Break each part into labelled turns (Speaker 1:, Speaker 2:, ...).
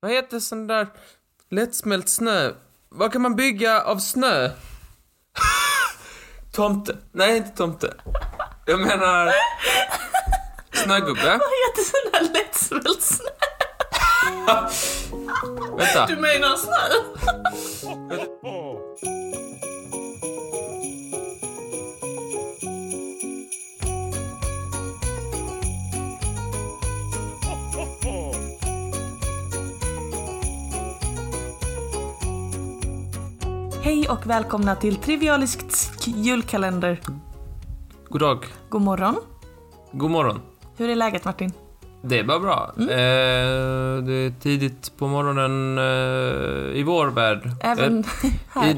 Speaker 1: Vad heter sån där lättsmält snö? Vad kan man bygga av snö? tomte. Nej, inte tomte. Jag menar... Snögubbe.
Speaker 2: Vad heter sån där lättsmält snö?
Speaker 1: Vänta.
Speaker 2: Du menar snö? Hej och välkomna till Trivialiskt julkalender.
Speaker 1: God dag.
Speaker 2: God morgon.
Speaker 1: God morgon.
Speaker 2: Hur är läget Martin?
Speaker 1: Det är bara bra.
Speaker 2: Mm.
Speaker 1: Eh, det är tidigt på morgonen eh, i vår värld.
Speaker 2: Även
Speaker 1: Eh,
Speaker 2: här?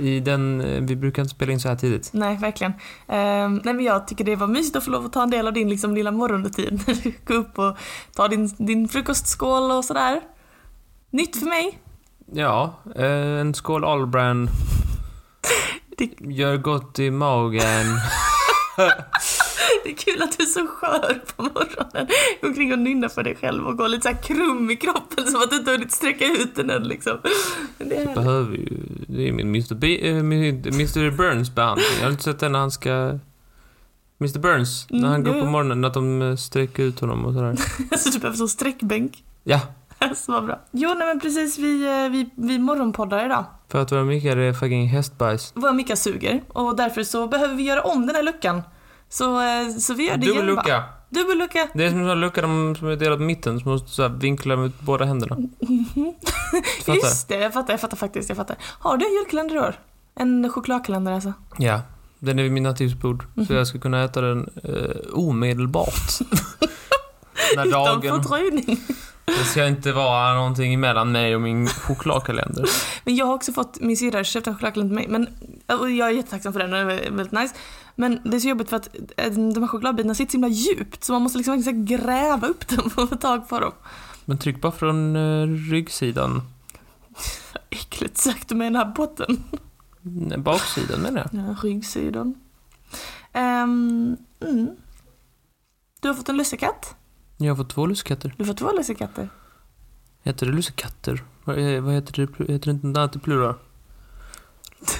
Speaker 1: i, I den... eh, Vi brukar inte spela in så här tidigt.
Speaker 2: Nej, verkligen. Ehm, nej, men jag tycker det var mysigt att få lov att ta en del av din liksom, lilla morgonrutin. När du går upp och tar din, din frukostskål och sådär. Nytt för mig.
Speaker 1: Ja, eh, en skål Allbrand.
Speaker 2: Det-
Speaker 1: Gör gott i magen.
Speaker 2: Det är kul att du är så skör på morgonen. Går omkring och nynnar för dig själv och går lite så här krum i kroppen som att du inte hunnit sträcka ut den än liksom. Men det är härligt.
Speaker 1: behöver ju... Det är min Mr. B, eh, min- Mr. Burns behandling. Jag har inte sett den när han ska... Mr. Burns, när han
Speaker 2: Mm,
Speaker 1: går
Speaker 2: jo,
Speaker 1: på
Speaker 2: jo.
Speaker 1: morgonen, att de eh, sträcker ut honom och sådär.
Speaker 2: Alltså du behöver sån sträckbänk.
Speaker 1: Ja,
Speaker 2: Alltså vad bra. Jo, nej men precis, vi, eh, vi, vi morgonpoddar idag.
Speaker 1: för att vara mycket är det fucking hästbajs.
Speaker 2: Våra mickar suger och därför så behöver vi göra om den här luckan. Så, eh, så vi gör det
Speaker 1: Dubbel
Speaker 2: igen bara.
Speaker 1: lucka.
Speaker 2: Dubbel lucka.
Speaker 1: Det är som en sån lucka de, som är delad på mitten, som måste så här vinkla med båda händerna. Du Fattar?
Speaker 2: Just det, jag fattar, jag fattar faktiskt, jag fattar. Har du en julkalender i år? En chokladkalender alltså?
Speaker 1: Ja. Den är vid mitt nattduksbord,
Speaker 2: Mhm.
Speaker 1: så jag ska kunna äta den eh, omedelbart. när
Speaker 2: Utan
Speaker 1: dagen...
Speaker 2: fördröjning.
Speaker 1: Det ska inte vara någonting emellan mig och min chokladkalender.
Speaker 2: Men jag har också fått, min syrra köpte en chokladkalender till mig, men och jag är jättetacksam för den, den är väldigt nice. Men det är så jobbigt för att eh, de här chokladbitarna sitter så himla djupt så man måste liksom verkligen så här gräva upp dem för att få tag på dem.
Speaker 1: Men tryck bara från eh, ryggsidan.
Speaker 2: Äckligt sagt, du menar botten.
Speaker 1: Nej, baksidan menar jag.
Speaker 2: Ja, ryggsidan. Ehm, mm. Du har fått en lussekatt.
Speaker 1: Jag har fått två lussekatter.
Speaker 2: Du får två lussekatter.
Speaker 1: Heter det lussekatter? Vad, eh, vad heter det? plu- Heter det inte något annat i plural?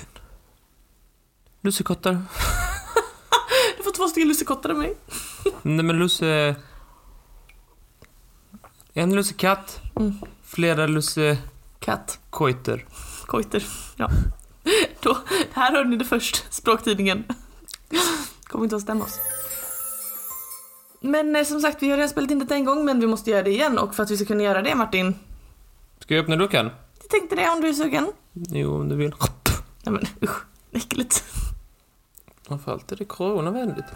Speaker 1: Lussekottar.
Speaker 2: Du får två stycken lussekottar av mig.
Speaker 1: Nej men lusse... En lussekatt.
Speaker 2: Mm.
Speaker 1: Flera lussekojter.
Speaker 2: Katt. Kojter. Ja. Då, här hörde ni det först, språktidningen. Kommer inte att stämma oss. Men eh, som sagt, vi har redan spelat in det en gång men vi måste göra det igen och för att vi ska kunna göra det Martin,
Speaker 1: Ska jag öppna luckan?
Speaker 2: jag tänkte det om du är sugen.
Speaker 1: Jo, om du vill.
Speaker 2: Nej men usch, äckligt.
Speaker 1: Varför alltid är det coronavänligt?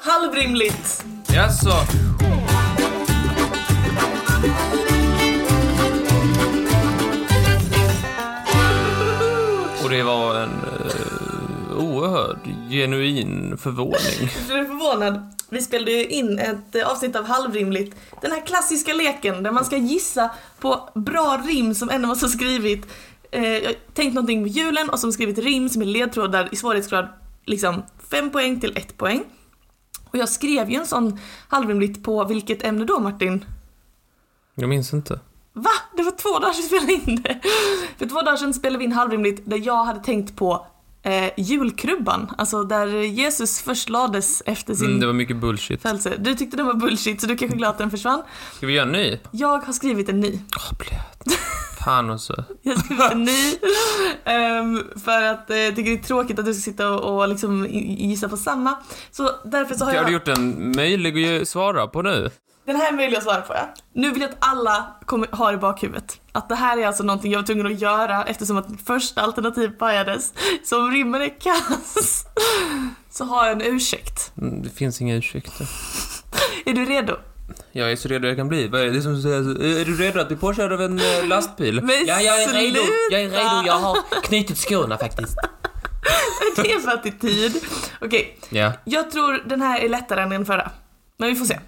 Speaker 2: Halvrimligt!
Speaker 1: Jaså? Och det var en eh, oerhörd genuin förvåning.
Speaker 2: Du är förvånad. Vi spelade ju in ett eh, avsnitt av Halvrimligt. Den här klassiska leken där man ska gissa på bra rim som en av oss har skrivit. Eh, jag har tänkt någonting med julen och som skrivit rim som är ledtrådar i svårighetsgrad liksom 5 poäng till 1 poäng. Och jag skrev ju en sån halvrimligt på vilket ämne då Martin?
Speaker 1: Jag minns inte.
Speaker 2: Va? Det var två dagar sedan vi spelade in det. För två dagar sedan spelade vi in Halvrimligt där jag hade tänkt på eh, julkrubban. Alltså där Jesus först lades efter sin
Speaker 1: Mm, det var mycket bullshit.
Speaker 2: Fällse, du tyckte den var bullshit så du kanske är glad att den försvann.
Speaker 1: Ska vi göra en ny?
Speaker 2: Jag har skrivit en ny.
Speaker 1: Åh, blöt. Fan alltså. också.
Speaker 2: Jag har skrivit en ny. ehm, för att eh, jag tycker det är tråkigt att du ska sitta och, och liksom i- gissa på samma. Så därför så har
Speaker 1: Har
Speaker 2: jag...
Speaker 1: du gjort en möjlig att ge- svara på nu?
Speaker 2: Den här är möjlig att svara på ja. Nu vill jag att alla kommer, har i bakhuvudet. Att det här är alltså någonting jag var tvungen att göra eftersom att första alternativ pajades. Så om rimmen är kass så har jag en ursäkt.
Speaker 1: Mm, Det finns inga ursäkter.
Speaker 2: Är du redo?
Speaker 1: Jag är så redo jag kan bli. Vad är det som säger? Är du redo att bli påkörd av en eh, lastbil?
Speaker 2: Men
Speaker 1: ja, jag är redo. Jag är
Speaker 2: sluta.
Speaker 1: redo. Jag har knutit skorna faktiskt.
Speaker 2: Det är för attityd. Okej.
Speaker 1: Ja.
Speaker 2: Jag tror den här är lättare än den förra. Men vi får se.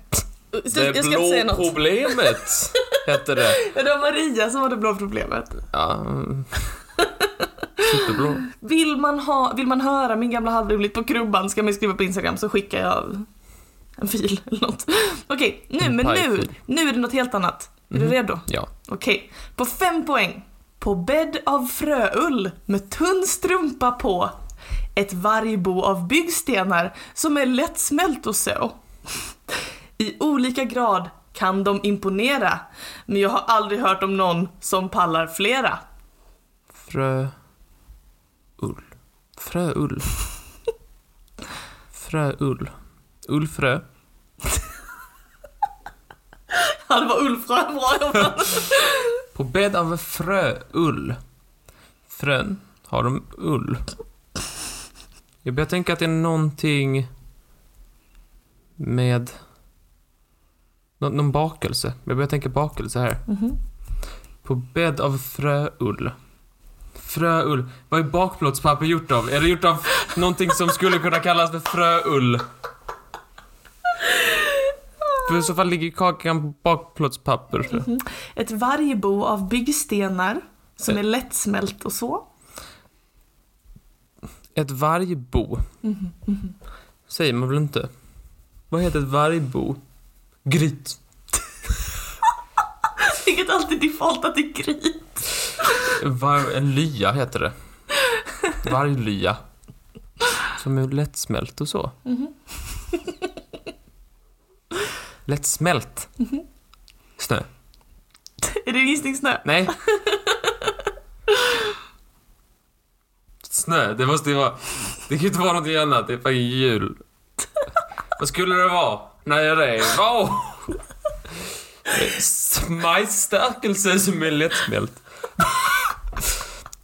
Speaker 2: Så
Speaker 1: Det
Speaker 2: jag ska inte säga
Speaker 1: blå
Speaker 2: något.
Speaker 1: problemet hette det.
Speaker 2: Ja, Det var Maria som var det blå problemet.
Speaker 1: Ja. mm. Superblå.
Speaker 2: Vill man, ha, vill man höra min gamla halvrimligt på krubban ska man ju skriva på Instagram så skickar jag En fil eller något. Okej, nu,
Speaker 1: En
Speaker 2: men nu,
Speaker 1: pajfil.
Speaker 2: nu är det något helt annat. Är
Speaker 1: Mhm.
Speaker 2: du redo?
Speaker 1: Ja.
Speaker 2: Okej. På fem poäng. På bädd av fröull med tunn strumpa på. Ett vargbo av byggstenar som är lättsmält och så. I olika grad kan de imponera, men jag har aldrig hört om någon som pallar flera.
Speaker 1: Frö... Ull. Fröull. Fröull. Ullfrö.
Speaker 2: Ja, det var Ulf bra jobbat.
Speaker 1: På bädd av fröull. Frön. Har de ull? Jag börjar tänka att det är någonting med... Nå- någon bakelse. Jag börjar tänka bakelse här. På bädd av fröull. Fröull. Vad är bakplåtspapper gjort av? Är det gjort av någonting som skulle kunna kallas för fröull? För i så fall ligger ju kakan på bakplåtspapper.
Speaker 2: Ett vargbo av byggstenar som är lättsmält och så.
Speaker 1: Ett vargbo. Säger man väl inte? Vad heter ett vargbo? Gryt.
Speaker 2: Vilket alltid defaultat till gry.
Speaker 1: Var- en lya heter det. Varglya. Som är lättsmält och så. Lättsmält. Snö.
Speaker 2: Är det gissningssnö?
Speaker 1: Nej. Snö, det måste ju vara... Det kan ju inte vara någonting annat, det är fucking jul. Vad skulle det vara? Nej, det är... Wow! Majsstärkelse som är lättsmält.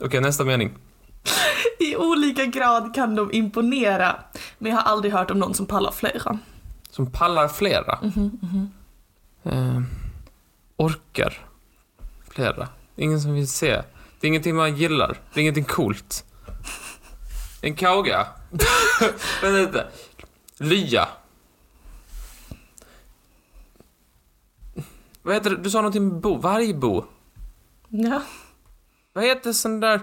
Speaker 1: Okej, nästa mening.
Speaker 2: I olika grad kan de imponera, men jag har aldrig hört om någon som pallar flera.
Speaker 1: Som pallar flera. Eh, orkar flera. Det är ingen som vill se. Det är ingenting man gillar. Det är ingenting coolt. En kauga. Vänta lite. Lya. Vad heter det? Du sa någonting med bo. Vargbo.
Speaker 2: Ja.
Speaker 1: Vad heter sån där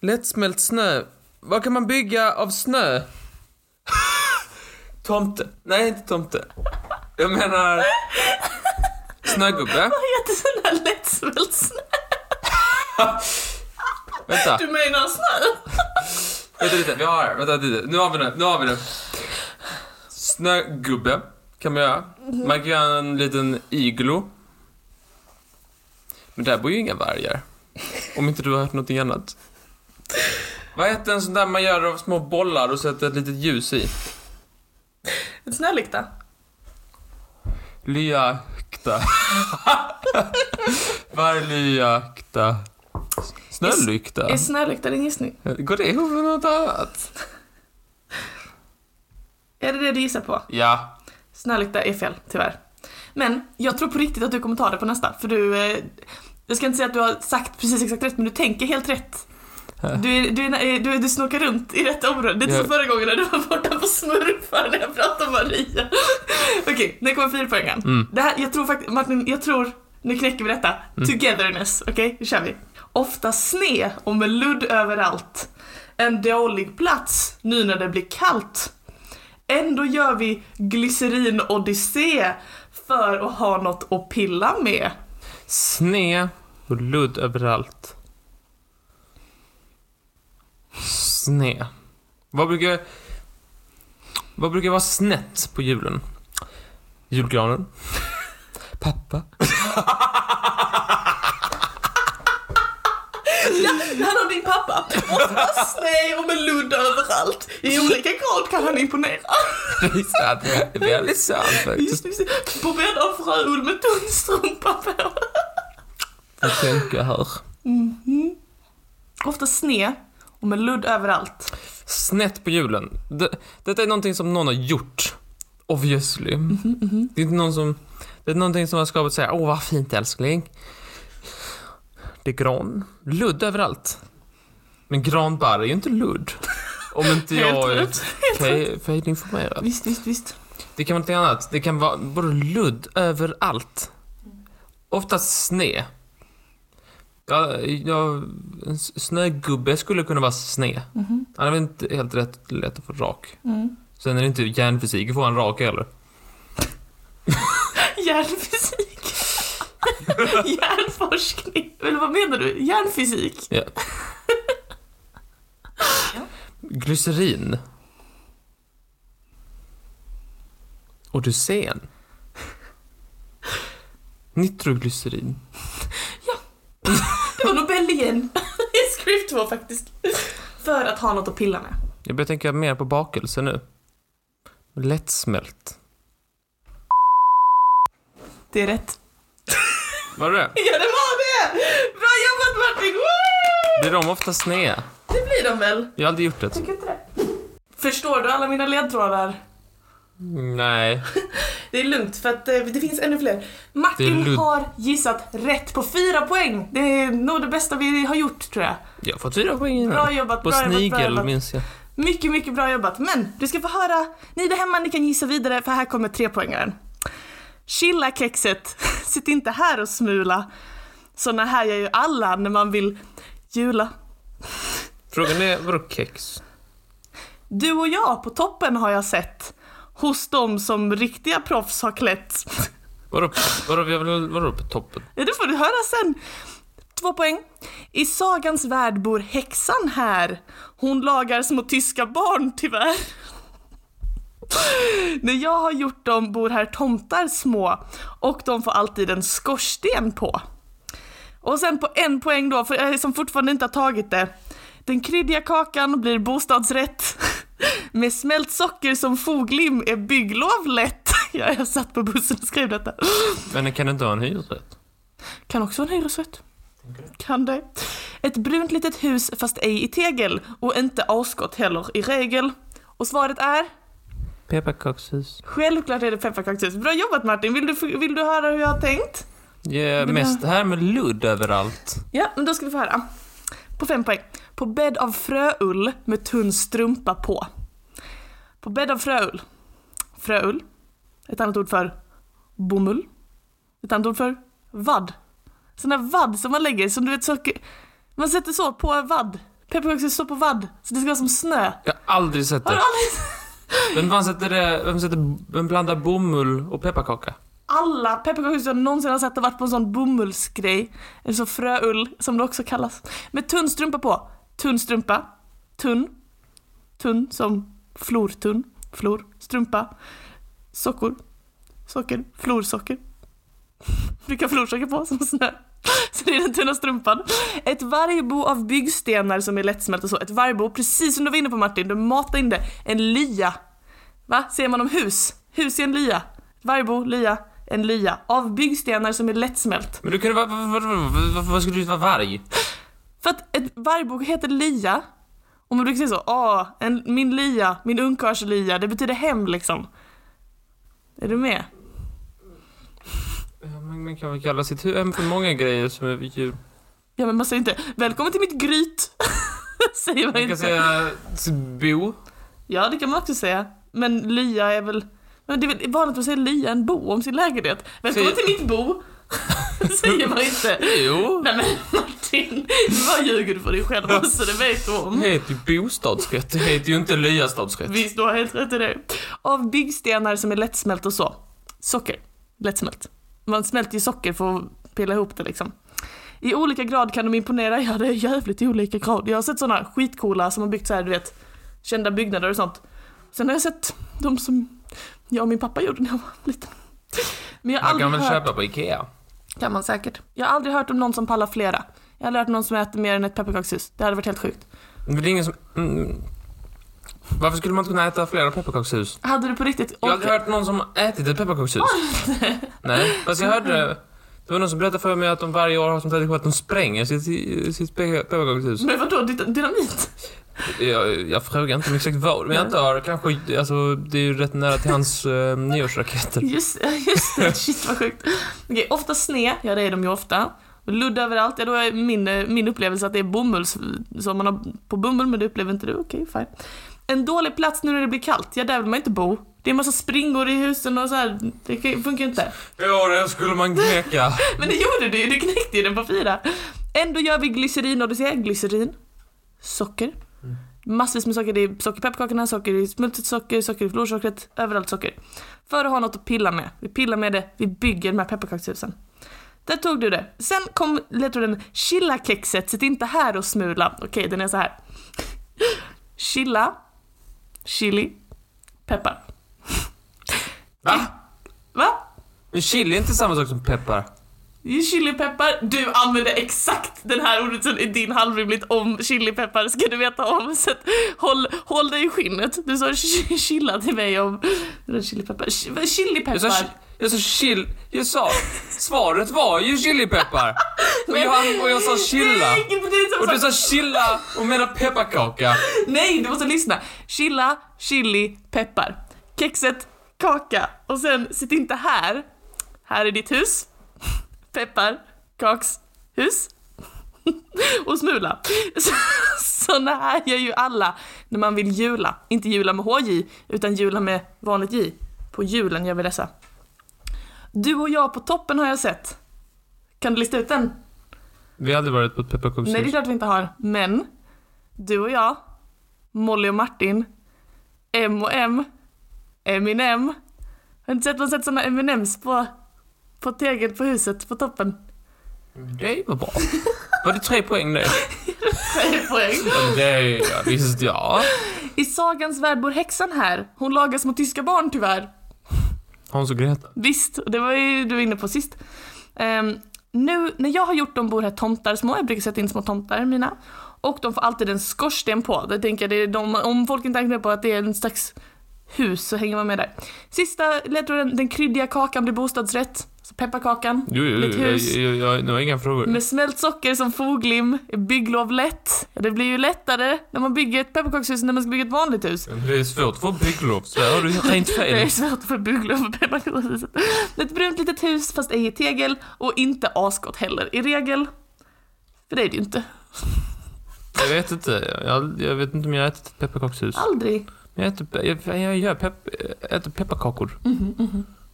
Speaker 1: lättsmält snö? Vad kan man bygga av snö? tomte. Nej, inte tomte. Jag menar... Snögubbe.
Speaker 2: Vad heter sån där lättsmält snö?
Speaker 1: Vänta,
Speaker 2: Du menar snö?
Speaker 1: vänta lite. Vi har Vänta lite. Nu har vi det. Nu har vi det. Snögubbe kan man göra. Man kan göra en liten iglo. Men där bor ju inga vargar. Om inte du har hört någonting annat. Vad heter en sån där man gör av små bollar och sätter ett litet ljus i?
Speaker 2: En snölykta?
Speaker 1: Lyaakta. Varglyaakta. Snölykta.
Speaker 2: Är snölykta din gissning?
Speaker 1: Går det ihop med något annat?
Speaker 2: Är det det du gissar på?
Speaker 1: Ja.
Speaker 2: Snölykta är fel, tyvärr. Men jag tror på riktigt att du kommer ta det på nästa, för du... Eh, jag ska inte säga att du har sagt precis exakt rätt, men du tänker helt rätt. Du, är, du, är, nä- eh, du, du snokar runt i rätt område. Det är inte
Speaker 1: Ja.
Speaker 2: som förra gången när du var borta på smurfar när jag pratade om Maria. Okej, nu kommer fyrpoängaren.
Speaker 1: Mm.
Speaker 2: Det här, jag tror faktiskt, Martin, jag tror, nu knäcker vi detta. Togetherness, okej? Nu kör vi. Ofta sne och med ludd överallt. En dålig plats nu när det blir kallt. Ändå gör vi glycerin-odyssé för att ha något att pilla med.
Speaker 1: Sne och ludd överallt. Sne. Vad brukar... Vad brukar vara snett på julen? Julgranen. Pappa.
Speaker 2: Ja, det handlar om din pappa. Ofta sne och med ludd överallt. I olika grad kan han imponera.
Speaker 1: Det är sant. Det är väldigt sant faktiskt.
Speaker 2: Just, just, på bädd av fröull med tunn strumpa på.
Speaker 1: Jag tänker här.
Speaker 2: Ofta sne och med ludd överallt.
Speaker 1: Snett på julen. Det, detta är någonting som någon har gjort. Obviously. Det är inte någon som... Det är någonting som har skapat såhär, åh vad fint älskling. Det är gran. Ludd överallt. Men granbarr är ju inte ludd. Om inte
Speaker 2: Helt
Speaker 1: jag är
Speaker 2: rätt.
Speaker 1: fe- fel informerad.
Speaker 2: Visst, visst, visst.
Speaker 1: Det kan vara någonting annat. Det kan vara både ludd överallt. Oftast sne. Ja, ja, en s- snögubbe skulle kunna vara sne.
Speaker 2: Mhm.
Speaker 1: Han är väl inte helt rätt lätt att få rak.
Speaker 2: Mm.
Speaker 1: Sen är det inte järnfysik att få en rak heller.
Speaker 2: Hjärnfysik. Hjärnforskning. Eller vad menar du? Hjärnfysik.
Speaker 1: Ja.
Speaker 2: Ja.
Speaker 1: Glycerin. Odysseen. Nitroglycerin.
Speaker 2: Det var Nobel igen. I script 2 faktiskt. För att ha något att pilla med.
Speaker 1: Jag börjar tänka mer på bakelse nu. Lättsmält.
Speaker 2: Det är rätt.
Speaker 1: Var det
Speaker 2: Ja, det var det! Bra jobbat Martin! Woo!
Speaker 1: Blir de ofta sneda?
Speaker 2: Det blir de väl?
Speaker 1: Jag har aldrig gjort det.
Speaker 2: Tycker inte det. Förstår du alla mina ledtrådar?
Speaker 1: Nej.
Speaker 2: Det är lugnt för att eh, det finns ännu fler.
Speaker 1: Det är
Speaker 2: Martin
Speaker 1: lugnt.
Speaker 2: har gissat rätt på fyra poäng. Det är nog det bästa vi har gjort tror jag.
Speaker 1: Jag har fått fyra poäng innan.
Speaker 2: Bra jobbat,
Speaker 1: På
Speaker 2: bra jobbat, bra
Speaker 1: snigel
Speaker 2: jobbat.
Speaker 1: minns jag.
Speaker 2: Mycket, mycket bra jobbat. Men du ska få höra, ni där hemma ni kan gissa vidare för här kommer trepoängaren. Chilla kexet, sitt inte här och smula. Såna här gör ju alla när man vill jula.
Speaker 1: Frågan är, vadå kex?
Speaker 2: Du och jag på toppen har jag sett. Hos dem som riktiga proffs har klätt.
Speaker 1: Vadå, vadå, jag vill- vadå på toppen?
Speaker 2: Ja, det får du höra sen. Två poäng. I sagans värld bor häxan här. Hon lagar små tyska barn tyvärr. När jag har gjort dem bor här tomtar små och de får alltid en skorsten på. Och sen på en poäng då, för jag som fortfarande inte har tagit det. Den kryddiga kakan blir bostadsrätt. Med smält socker som foglim är bygglov lätt. Ja, jag satt på bussen och skrev detta.
Speaker 1: Men den kan inte ha en hyresrätt?
Speaker 2: Kan också vara en hyresrätt. Kan det. Ett brunt litet hus fast ej i tegel och inte avskott heller i regel. Och svaret är?
Speaker 1: Pepparkakshus.
Speaker 2: Självklart är det pepparkakshus. Bra jobbat Martin! Vill du, vill du höra hur jag har tänkt?
Speaker 1: Ja,
Speaker 2: Vill
Speaker 1: mest det här med ludd överallt.
Speaker 2: Ja, men då ska vi få höra. På fem poäng. På bädd av fröull med tunn strumpa på. På bädd av fröull. Fröull. Ett annat ord för bomull. Ett annat ord för vadd. Sån där vadd som man lägger, som du vet saker... Man sätter så på en vadd. Pepparkakshus står på vadd, så det ska vara som snö.
Speaker 1: Jag har aldrig sett
Speaker 2: Har du
Speaker 1: det.
Speaker 2: aldrig...
Speaker 1: Vem fan sätter det? Vem, sätter, vem blandar bomull och pepparkaka?
Speaker 2: Alla pepparkakshus jag någonsin har sett har varit på en sån bomullsgrej. Eller så fröull, som det också kallas. Med tunn strumpa på. Tunn strumpa. Tunn. Tunn som flortunn. Flor. Strumpa. Sockor. Socker. Florsocker. Brukar florsocker på som snö. Så det är den tunna strumpan. Ett vargbo av byggstenar som är lättsmält och så. Ett vargbo, precis som du var inne på Martin, du matade in det. En lya. Va? Ser man om hus? Hus i en lya. Vargbo, lya, en lya. Av byggstenar som är lättsmält.
Speaker 1: Men du kunde vara... Varför var, var, skulle du vara varg?
Speaker 2: För att ett vargbo heter lya. Och man brukar säga så, ah, en, min lya, min ungkarls lya, det betyder hem liksom. Är du med?
Speaker 1: Ja, men Man kan väl kalla sitt hem för många grejer som är djur.
Speaker 2: Ja men man säger inte, välkommen till mitt gryt. säger man
Speaker 1: Man
Speaker 2: inte.
Speaker 1: kan säga sitt bo.
Speaker 2: Ja det kan man också säga. Men lya är väl, men det är väl vanligt att säga lya, en bo om sin lägenhet. Välkommen
Speaker 1: Säger-
Speaker 2: till mitt bo. säger man inte.
Speaker 1: Jo.
Speaker 2: Nej men Martin, vad ljuger du för dig själv också, det vet du
Speaker 1: Det
Speaker 2: om.
Speaker 1: heter ju bostadsrätt. Det heter ju inte lyastadsrätt.
Speaker 2: Visst, du har helt rätt i det. Av byggstenar som är lättsmält och så. Socker, lättsmält. Man smälter ju socker för att pilla ihop det liksom. I olika grad kan de imponera, ja det är jävligt olika grad. Jag har sett sådana skitcoola som har byggt så här, du vet, kända byggnader och sånt. Sen har jag sett de som jag och min pappa gjorde när jag var liten. Men jag har
Speaker 1: Man
Speaker 2: aldrig
Speaker 1: kan väl
Speaker 2: hört...
Speaker 1: köpa på Ikea?
Speaker 2: Kan man säkert. Jag har aldrig hört om någon som pallar flera. Jag har aldrig hört om någon som äter mer än ett pepparkakshus. Det hade varit helt sjukt.
Speaker 1: Men det är ingen som... Mm. Varför skulle man inte kunna äta flera pepparkakshus?
Speaker 2: Hade du på riktigt
Speaker 1: Jag har aldrig hört någon som har ätit ett pepparkakshus. Nej, fast jag hörde det. Det var någon som berättade för mig att de varje år har som tradition att de spränger sitt, sitt pe- pepparkakshus.
Speaker 2: Men vadå, dit- dynamit?
Speaker 1: Jag, jag frågar inte om exakt vad, men jag antar kanske... Alltså, det är ju rätt nära till hans uh, nyårsraketer.
Speaker 2: Just, just det, shit vad sjukt. Okej, ofta sne, ja det är de ju ofta. Och Ludd överallt, ja då är min, eh, min upplevelse att det är bomull som man har på bomull, men det upplever inte du. Okej, fine. En dålig plats nu när det blir kallt, ja där vill man inte bo. Det är en massa springor i husen och så här. det kan- funkar ju inte.
Speaker 1: Ja, det skulle man knäcka.
Speaker 2: Men det gjorde du ju, du knäckte ju den på fyra. Ändå gör vi glycerin och du säger glycerin, socker. massvis med socker. Det är socker i pepparkakorna, socker i smultet socker, socker i florsockret, överallt socker. För att ha något att pilla med. Vi pillar med det, vi bygger de här pepparkakshusen. Där tog du det. Sen kom ledtråden chilla-kexet, sitt inte här och smula. Okej, den är så här. Chilla, chili, peppar.
Speaker 1: Va?
Speaker 2: Va?
Speaker 1: Men Chili är inte samma sak som peppar.
Speaker 2: Chilipeppar, du använde exakt den här ordet i din halvrimligt om chilipeppar ska du veta om. Så att håll, håll dig i skinnet. Du sa chi- chilla till mig om chilipeppar. Chi- vad-
Speaker 1: Jag sa,
Speaker 2: Chilipeppar.
Speaker 1: chi- jag sa chill... Jag sa... Svaret var ju chilipeppar. Och, jag, och jag sa chilla.
Speaker 2: Nej, inte det som
Speaker 1: Och du
Speaker 2: sagt.
Speaker 1: sa chilla och menar pepparkaka.
Speaker 2: Nej, du måste lyssna. Chilla, chili, peppar. Kexet, kaka. Och sen, sitt inte här. Här är ditt hus. Peppar, kaks, hus. Och smula. Så- Såna här gör ju alla när man vill jula. Inte jula med HJ, utan jula med vanligt J. På julen gör vi dessa. Du och jag på toppen har jag sett. Kan du lista ut den?
Speaker 1: Vi har aldrig varit på ett
Speaker 2: Nej, det är
Speaker 1: pepparkakshus.
Speaker 2: klart vi inte har. Men du och jag, Molly och Martin, M och M, Eminem. Har inte sett man sett såna Eminems på, på tegel på huset på toppen?
Speaker 1: Det var bra. Var det tre poäng det?
Speaker 2: Säger poäng.
Speaker 1: Ja, Det ja, visst ja.
Speaker 2: I sagans värld bor häxan här. Hon lagas mot tyska barn tyvärr.
Speaker 1: Hans och Greta.
Speaker 2: Visst, och det var ju du var inne på sist. Ehm, nu när jag har gjort dem bor här tomtar små, jag brukar sätta in små tomtar mina. Och de får alltid en skorsten på. Det tänker jag, det är de, om folk inte tänker på att det är en slags hus så hänger man med där. Sista ledtråden, den kryddiga kakan blir bostadsrätt. Så pepparkakan.
Speaker 1: Jo, jo,
Speaker 2: Mitt
Speaker 1: jo. Jag,
Speaker 2: hus.
Speaker 1: jag, jag, det var inga frågor.
Speaker 2: Med smält socker som foglim, är bygglov lätt. Ja, det blir ju lättare när man bygger ett pepparkakshus än när man ska bygga ett vanligt hus.
Speaker 1: Det är svårt att få bygglov, så här har du rent
Speaker 2: Det är
Speaker 1: fel.
Speaker 2: svårt för bygglov på pepparkakshuset. Ett brunt litet hus fast ej i tegel och inte asgott heller i regel. För det är det ju inte.
Speaker 1: Jag vet inte. Jag, jag vet inte om jag har ätit ett pepparkakshus.
Speaker 2: Aldrig.
Speaker 1: Men Jag äter, pe- jag, jag gör pepp, äter pepparkakor. Jag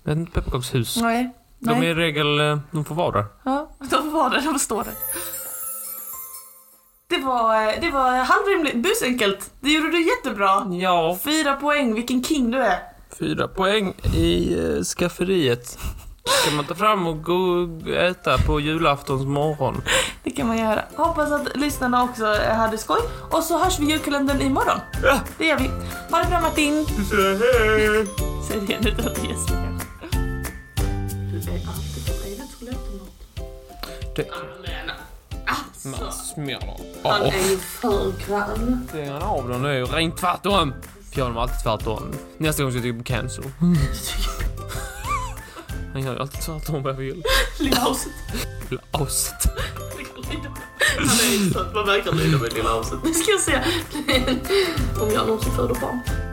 Speaker 1: äter inte pepparkakshus.
Speaker 2: Mm-hmm, Nej.
Speaker 1: De är
Speaker 2: Nej.
Speaker 1: i regel, eh, de får vara där.
Speaker 2: Ja, de får vara där, de får stå där. Det var, det var halvrimligt, busenkelt. Det gjorde du jättebra.
Speaker 1: Ja.
Speaker 2: Fyra poäng, vilken king du är.
Speaker 1: Fyra poäng i eh, skafferiet. Kan man ta fram och gå och äta på julaftons morgon.
Speaker 2: Det kan man göra. Hoppas att lyssnarna också eh, hade skoj. Och så hörs vi i julkalendern imorgon.
Speaker 1: Ja.
Speaker 2: Det gör vi. Ha det bra Martin.
Speaker 1: Hej!
Speaker 2: Säg det igen utan att gäspa.
Speaker 1: Det man smäller av.
Speaker 2: Alltså. är ju för grann.
Speaker 1: Det är en av dem nu. Ring tvärtom! För jag har dem alltid tvärtom. Nästa gång ska jag trycka på cancel. Han gör ju alltid tvärtom vad jag vill.
Speaker 2: Lilla huset.
Speaker 1: Lilla aset.
Speaker 2: Han är exakt, man verkar lyda med Lilla huset. Nu ska jag se om jag någonsin föder barn.